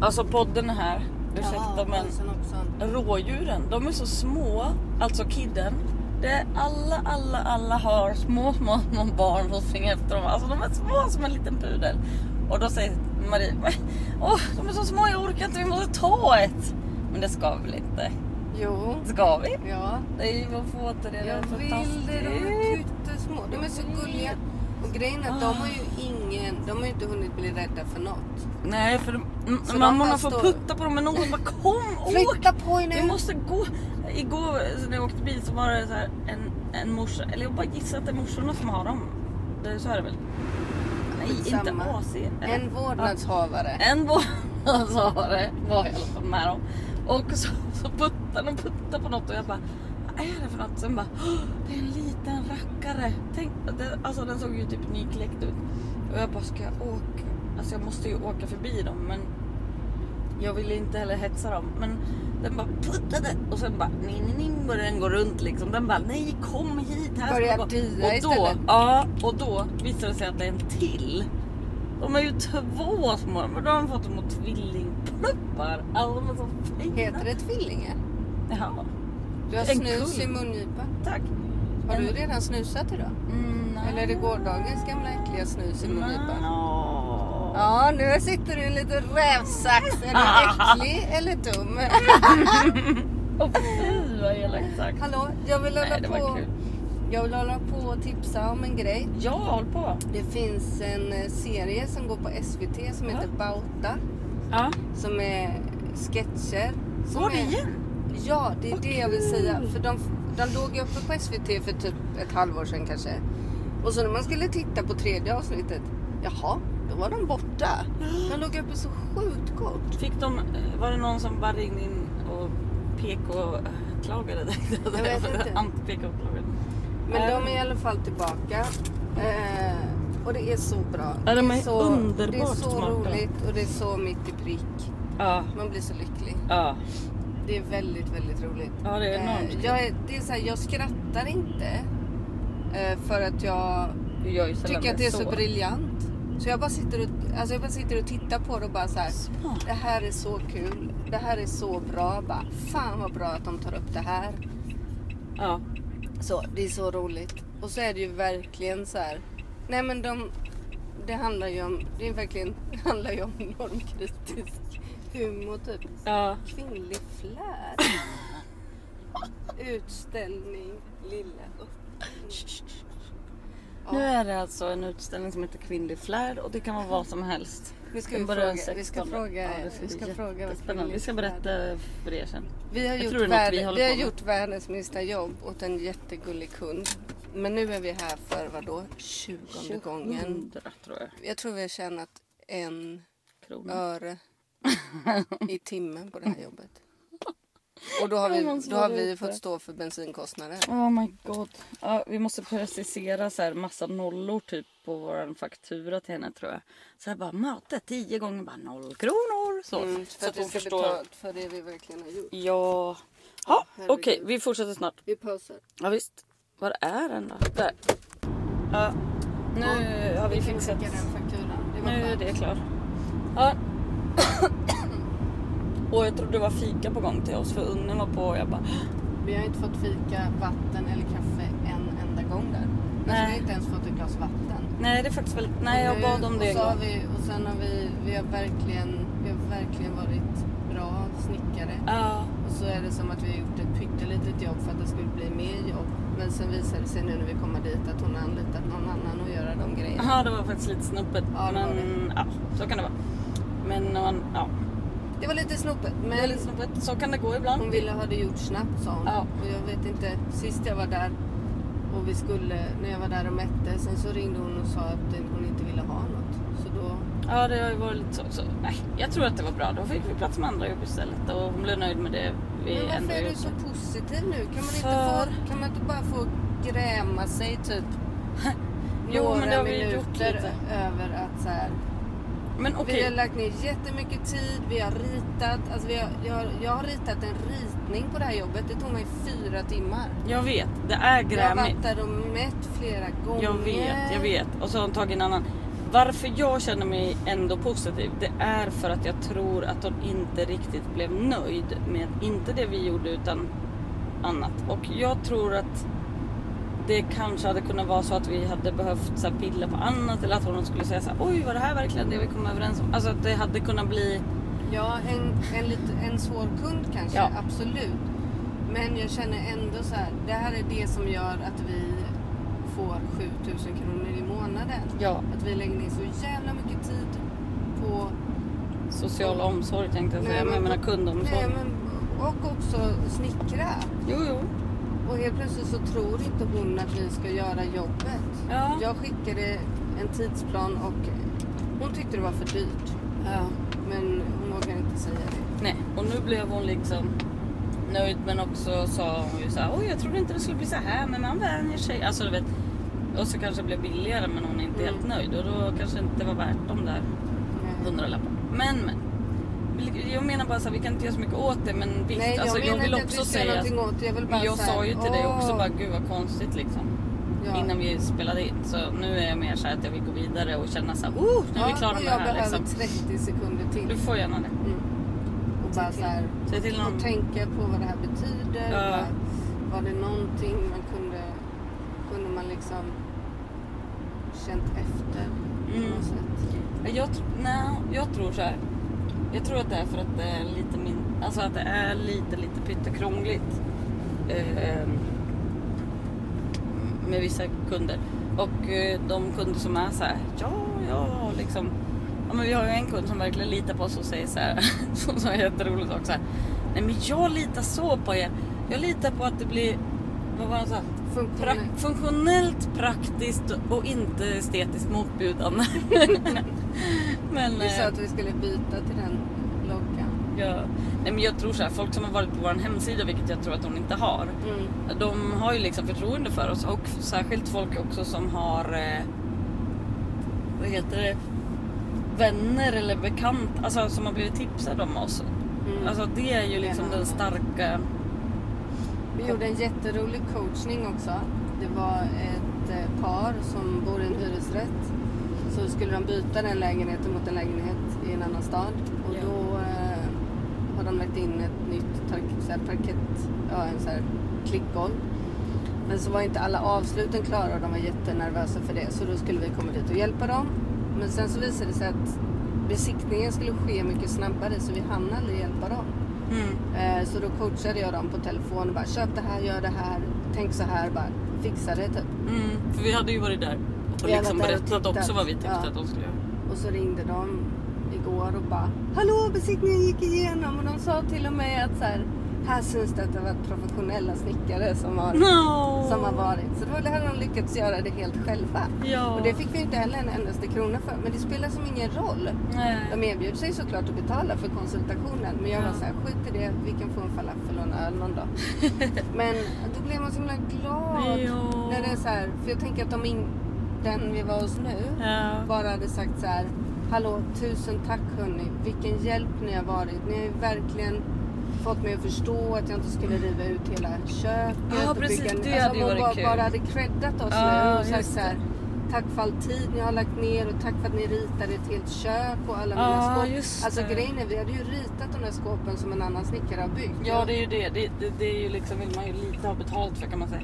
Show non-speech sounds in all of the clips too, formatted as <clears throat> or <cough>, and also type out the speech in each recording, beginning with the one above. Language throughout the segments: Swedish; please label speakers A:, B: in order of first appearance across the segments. A: Alltså podden är här. Ursäkta
B: Ja,
A: men
B: Olsen Olsson.
A: rådjuren, de är så små. Alltså kidden. Det är alla, alla, alla har små, små, små barn som springer efter dem. Alltså de är små som en liten pudel. Och då säger Marie, "Men, åh de är så små jag orkar inte, vi måste ta ett. Men det ska vi väl inte?
B: Jo.
A: Ska vi?
B: Ja.
A: Nej, vad fåter det
B: Jag
A: är
B: vill det. De är pyttesmå. De är så gulliga. Och grejen är att de har ju ingen... De har ju inte hunnit bli rädda för något.
A: Nej, för de- m-
B: Så de
A: mammorna
B: kan
A: får
B: stå-
A: putta på dem men någon bara kom åk!
B: Flytta på er nu!
A: Vi måste gå. Igår så när jag åkte bil så var det så här en, en morsa, eller jag bara gissar att det är morsorna som har dem. Det, så är det väl? Nej, inte
B: Skitsamma.
A: AC. eller?
B: En vårdnadshavare.
A: En <laughs> vårdnadshavare var jag i alla fall med dem. Och så, så puttade de puttade på något och jag bara vad är det för något? Sen bara "Åh, det är en liten rackare. Tänk, det, alltså den såg ju typ nykläckt ut. Och jag bara ska jag åka? Alltså jag måste ju åka förbi dem men jag ville inte heller hetsa dem. Men den bara puttade och sen bara nej nej nej började den gå runt liksom. Den bara nej kom hit här ska
B: Börjar
A: du gå."
B: dia
A: och då,
B: istället.
A: ja, och då visade det sig att det är en till. De är ju två små, men då har de fått små tvillingpluppar. Alltså de är så fina.
B: Heter det tvillingar?
A: Jaha,
B: Du har
A: En
B: snus
A: kull.
B: i mungipan.
A: tack.
B: Har
A: En-
B: du redan snusat idag?
A: Mm,
B: Eller är det gårdagens gamla äckliga snus i mungipan?
A: Ja.
B: Ja, nu sitter du i en liten rävsax.
A: <laughs>
B: Är du äcklig eller dum?
A: Och fy vad elakt sagt.
B: Hallå, jag vill hålla
A: Nej, det var
B: på.
A: kul.
B: Jag vill hålla på och tipsa om en grej.
A: Ja, håll på.
B: Det finns en eh, serie som går på SVT som
A: Ja.
B: heter Bauta.
A: Ja.
B: Som är sketcher. Som
A: Går det
B: är-
A: igen?
B: Ja, det är
A: Vad
B: det jag vill säga.
A: kul.
B: För de, de låg ju uppe på SVT för typ ett halvår sedan kanske. Och så när man skulle titta på tredje avsnittet, jaha, då var de borta. De låg uppe så sjukt kort.
A: Fick de, var det någon som bara ringde in och PK-klagade? <laughs> Jag
B: vet inte.
A: Anti-PK-klagade.
B: Men
A: Ja.
B: de är i alla fall tillbaka. Eh, och det är så bra.
A: Ja, de
B: det
A: är
B: så,
A: underbart
B: Det är så
A: smarta.
B: roligt och det är så mitt i prick.
A: Ja,
B: Man blir så lycklig.
A: ja.
B: Det är väldigt, väldigt roligt.
A: Ja, det är enormt
B: eh, jag, är, det är så här, jag skrattar inte eh, för att jag
A: Du gör ju sällan
B: tycker att det är så,
A: så
B: briljant. Så jag bara sitter och, alltså jag bara sitter och tittar på det och bara så här.
A: Smart.
B: Det här är så kul. Det här är så bra. Bara, fan vad bra att de tar upp det här.
A: Ja.
B: Så, det är så roligt. Och så är det ju verkligen så här. Nej men de, det handlar ju om, det är verkligen, <laughs> det handlar ju om normkritisk humor typ.
A: ja.
B: Kvinnlig flärd. Utställning Lilla Örten. Ja.
A: Nu är det alltså en utställning som heter Kvinnlig flärd och det kan vara vad som helst.
B: Nu ska
A: Den
B: vi
A: börjar den
B: fråga- vi ska
A: 16.
B: fråga-
A: det ska
B: vi ska
A: bli
B: fråga vad
A: jättespännande. Vi ska
B: Kvinnlig
A: berätta för er sen.
B: Vi har,
A: Jag
B: gjort,
A: tror det är något vi
B: värld-
A: håller
B: vi har
A: på med.
B: gjort världens minsta jobb åt en jättegullig kund. Men nu är vi här för vad då? 20 gången.
A: 100 tror jag.
B: Jag tror vi har tjänat en
A: Kronor.
B: öre i timmen på det här
A: <laughs>
B: jobbet. Och då har
A: Ja,
B: vi,
A: man slår
B: då har
A: ut
B: vi
A: det.
B: fått stå för bensinkostnader.
A: Oh my god. Ja, vi måste precisera så här massa nollor typ på vår faktura till henne tror jag. Så här bara möte 10 gånger bara noll kronor. Så,
B: Mm,
A: så
B: för
A: att
B: att vi
A: hon
B: ska
A: förstår.
B: betala för det vi verkligen har gjort.
A: Ja. Ja,
B: Ja,
A: Okej,
B: herregud.
A: vi fortsätter snart.
B: Vi pausar.
A: Ja visst. Var är den då? Där. Ja, nu har vi
B: kan
A: fixat.
B: skicka den fakturan. Det var
A: Nu är
B: skönt.
A: det klart. Ja. <clears throat> Och jag trodde det var fika på gång till oss för ugnen var på och jag bara
B: Vi har inte fått fika, vatten eller kaffe en enda gång där. Alltså, vi har
A: Nej.
B: inte ens fått ett glas vatten.
A: Nej det är faktiskt väldigt, nej jag
B: Nu-
A: bad om det
B: och
A: en
B: så har
A: gång.
B: vi, Och sen har vi, vi har verkligen, vi har verkligen varit bra snickare.
A: Ja,
B: Och så är det som att vi har gjort ett pyttelitet jobb för att det skulle bli mer jobb. Men sen visar det sig nu när vi kommer dit att hon har anlitat någon annan att göra de grejerna.
A: Aha, det var faktiskt lite snuppet.
B: Ja, det var
A: men ja, så kan det vara. Men när man, ja.
B: Det var lite snopet,
A: Det är
B: men
A: lite snuppet, så kan det gå ibland.
B: hon ville ha det gjort snabbt sa hon.
A: Ja.
B: Och jag vet inte, sist jag var där och vi skulle, när jag var där och mätte, sen så ringde hon och sa att hon inte ville ha något. Så då
A: Ja, det har ju varit lite så. så nej, jag tror att det var bra. Då fick vi plats med andra jobb istället och hon blev nöjd med det vi
B: Men varför
A: ändå
B: är du
A: gjort.
B: så positiv nu? Kan man, inte
A: För-
B: få, kan man inte bara få gräma sig typ
A: <laughs> Jo,
B: några
A: men det har vi ju gjort
B: minuter
A: lite.
B: över att så här,
A: Men okej.
B: Vi har lagt ner jättemycket tid, vi har ritat. Alltså vi har, jag, har, jag har ritat en ritning på det här jobbet. Det tog mig fyra timmar.
A: Jag vet, det är
B: Jag har
A: grämigt.
B: varit där och mätt flera gånger.
A: Jag vet, jag vet. Och så har hon tagit en annan. Varför jag känner mig ändå positiv, det är för att jag tror att hon inte riktigt blev nöjd med inte det vi gjorde utan annat. Och jag tror att det kanske hade kunnat vara så att vi hade behövt så här, pilla på annat eller att hon skulle säga så här, oj var det här verkligen det vi kom överens om? Alltså att det hade kunnat bli
B: Ja, en, en, lite, en svår kund kanske,
A: Ja.
B: absolut. Men jag känner ändå så här, det här är det som gör att vi får 7000 kronor i månaden.
A: ja,
B: Att vi lägger ner så jävla mycket tid på...
A: social omsorg tänkte jag säga, men jag menar kundomsorg.
B: Nej, men, och också snickra.
A: Jo, jo.
B: Och helt plötsligt så tror inte hon att vi ska göra jobbet.
A: Ja.
B: Jag skickade en tidsplan och hon tyckte det var för dyrt.
A: ja.
B: Men hon vågade inte säga det.
A: Nej, och nu blev hon liksom nöjd men också sa hon ju så här, oj jag trodde inte det skulle bli så här men man vänjer sig. Alltså du vet. Och så kanske det blev billigare men hon är inte
B: Mm.
A: helt nöjd och då kanske det inte var värt de där
B: Nej.
A: hundralapparna. Men men. Jag menar bara så här, vi kan inte göra så mycket åt det men visst.
B: Nej, jag
A: alltså,
B: menar
A: jag vill
B: inte
A: också
B: att du ska
A: säga.
B: göra någonting åt det. Jag vill bara
A: Men jag
B: så här,
A: sa ju till dig också
B: "Åh."
A: bara gud vad konstigt liksom.
B: ja.
A: Innan vi spelade in. Så nu är jag mer så här att jag vill gå vidare och känna så här, oh nu är vi
B: Ja,
A: klara med
B: och
A: det
B: jag
A: här
B: behöver
A: liksom.
B: 30 sekunder till.
A: Du får gärna det.
B: Mm. Och bara så här,
A: Säg till någon.
B: och tänka på vad det här betyder.
A: Ja.
B: Bara, Var det någonting man kunde, kunde man liksom känt efter på
A: Mm.
B: något sätt?
A: Jag, tr- nej, jag tror så här. Jag tror att det är för att det är lite min, alltså att det är lite, lite pyttekrångligt. Eh, med vissa kunder. Och eh, de kunder som är så här, ja, ja, liksom. Ja, men vi har ju en kund som verkligen litar på oss och säger så här, <laughs> som sa en jätterolig sak så här. Nej men jag litar så på er. Jag litar på att det blir, vad var det han sa? Pra
B: Funktioner.
A: funktionellt, praktiskt och inte estetiskt
B: <laughs>
A: motbjudande. men,
B: Vi sa
A: eh,
B: att vi skulle byta till den loggan.
A: jag, nej, men jag tror så här, folk som har varit på vår hemsida, vilket jag tror att hon inte har,
B: Mm.
A: de har ju liksom förtroende för oss och särskilt folk också som har, eh, vad heter det, vänner eller bekanta, alltså som har blivit tipsade om oss.
B: Mm.
A: Alltså det är ju liksom den starka,
B: Vi gjorde en jätterolig coachning också. Det var ett eh, par som bor i en hyresrätt. Så skulle de byta den lägenheten mot en lägenhet i en annan stad. Och
A: Ja.
B: då eh, har de lagt in ett nytt tar- så här parkett, ja, en så här klickgolv. Men så var inte alla avsluten klara och de var jättenervösa för det. Så då skulle vi komma dit och hjälpa dem. Men sen så visade det sig att besiktningen skulle ske mycket snabbare så vi hann aldrig hjälpa dem.
A: mm,
B: Eh, Så då coachade jag dem på telefon och bara köp det här, gör det här, tänk så här, bara fixa det typ.
A: mm, för vi hade ju varit där och
B: Vi hade
A: liksom
B: varit där och
A: berättat
B: tittat.
A: också vad vi tyckte
B: Ja.
A: att de skulle göra.
B: Och så ringde de igår och bara Hallå besiktningen gick igenom och de sa till och med att så här, här syns det att det var professionella snickare som har,
A: No.
B: som har varit. Så då hade de lyckats göra det helt själva.
A: Ja.
B: Och det fick vi inte heller en endaste krona för. Men det spelar som ingen roll.
A: Nej.
B: De erbjöd sig såklart att betala för konsultationen men jag var
A: Ja.
B: såhär, skit i det, vi kan få en falafel och en öl någon dag. <laughs> men då blev man så himla glad.
A: Ja.
B: När det är så här, för jag tänker att om in, den vi var hos nu
A: Ja.
B: bara hade sagt så här, hallå tusen tack hörni, vilken hjälp ni har varit. Ni har ju verkligen fått mig att förstå att jag inte skulle riva ut hela köket.
A: Ja,
B: och
A: precis,
B: en-
A: det
B: alltså,
A: hade ju
B: om hon
A: varit
B: bara,
A: kul.
B: bara hade creddat oss
A: Ja,
B: nu och sagt
A: just
B: så här, tack för all tid ni har lagt ner och tack för att ni ritade ett helt kök och alla
A: Ja,
B: mina skåp.
A: just
B: alltså
A: det.
B: grejen är, vi hade ju ritat de där skåpen som en annan snickare har byggt.
A: ja, det är ju det. Det, det, det är ju liksom, vill man ju lite ha betalt för kan man säga.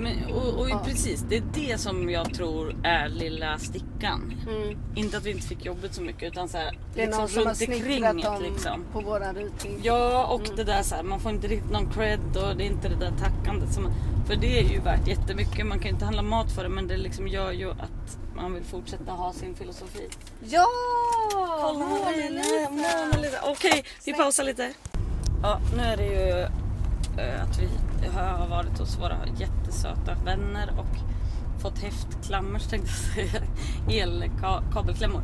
A: Men, och och
B: Ja.
A: precis, det är det som jag tror är lilla stickan.
B: Mm.
A: Inte att vi inte fick jobbet så mycket utan så här,
B: Det är
A: liksom
B: någon som har
A: runt
B: snickrat
A: omkring
B: dem
A: liksom.
B: på våran ritning.
A: Ja, och det där så här, man får inte riktigt någon cred och det är inte det där tackandet som... För det är ju värt jättemycket. Man kan ju inte handla mat för det men det liksom gör ju att man vill fortsätta ha sin filosofi.
B: Ja!
A: Mona Lisa. Mona Lisa. Okej, vi pausar lite. Ja, nu är det ju eh, att vi har varit hos våra jättesöta vänner och fått häftklammers tänkte jag säga. Elkabelklämmor.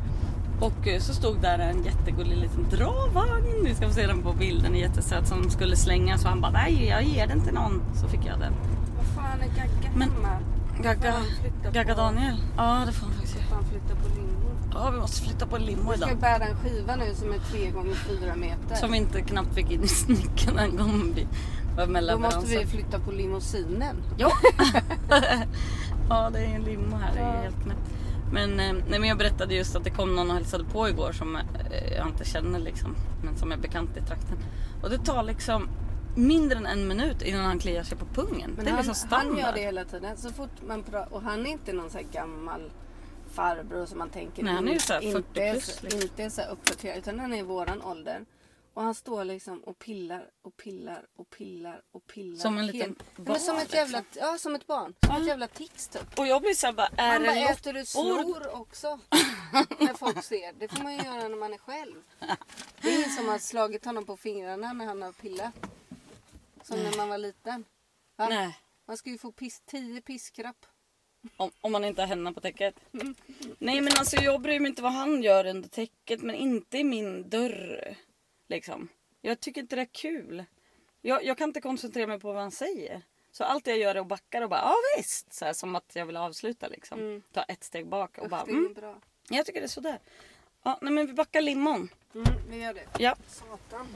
A: Och eh, så stod där en jättegullig liten dragvagn. Ni ska få se den på bilden. Jättesöt som skulle slängas och han bara nej jag ger den till någon. Så fick jag den.
B: Vad fan är Gagga
A: Men-
B: hemma? Får
A: Gagga,
B: han flytta
A: Gagga
B: på-
A: Daniel. Ja det får han faktiskt göra.
B: Får han flytta på lingor?
A: Ja vi måste flytta på limo
B: Du
A: idag.
B: ska bära en skiva nu som är 3 gånger 4 meter.
A: Som vi inte knappt fick in i snickaren en gång vi var med
B: Då måste
A: leveransen.
B: vi flytta på limousinen.
A: <laughs> Ja. ja, det är en limo här. Det är
B: Ja.
A: helt knäppt. Men, eh, nej, men jag berättade just att det kom någon och hälsade på igår som eh, jag inte känner liksom. Men som är bekant i trakten. Och det tar liksom mindre än en minut innan han kliar sig på pungen.
B: Men
A: det är
B: han,
A: liksom standard.
B: han gör det hela tiden. Så fort man pra- och han är inte någon så här gammal farbror som man tänker
A: Nej, han är ju så här 40
B: inte, är
A: plus,
B: så-
A: liksom.
B: inte är så här uppdaterad. Utan han är i våran ålder. Och han står liksom och pillar och pillar och pillar och pillar.
A: Som en liten
B: Helt- Nej, men som
A: barn, liksom.
B: ett jävla, Ja, som ett barn. Som ett jävla tics typ.
A: Och jag blir såhär bara, är
B: Han bara,
A: det
B: äter du
A: lottor?
B: snor också? <laughs> när folk ser. Det får man ju göra när man är själv. Det är ingen som har slagit honom på fingrarna när han har pillat. Som när man var liten. Va?
A: Nej,
B: Man ska ju få pis- tio piskrapp.
A: om, om man inte har henne på täcket. Mm. Nej men alltså jag bryr mig inte vad han gör under täcket men inte i min dörr. Liksom. Jag tycker inte det är kul. Jag, jag kan inte koncentrera mig på vad han säger. Så allt jag gör är att backa och bara ja visst. Så här, som att jag vill avsluta liksom. Ta ett steg bak och
B: Usch,
A: bara
B: det är ju
A: mm,
B: bra.
A: jag tycker det är sådär. Ja, nej men vi backar limon.
B: Mm, vi gör det.
A: Ja.
B: Satan.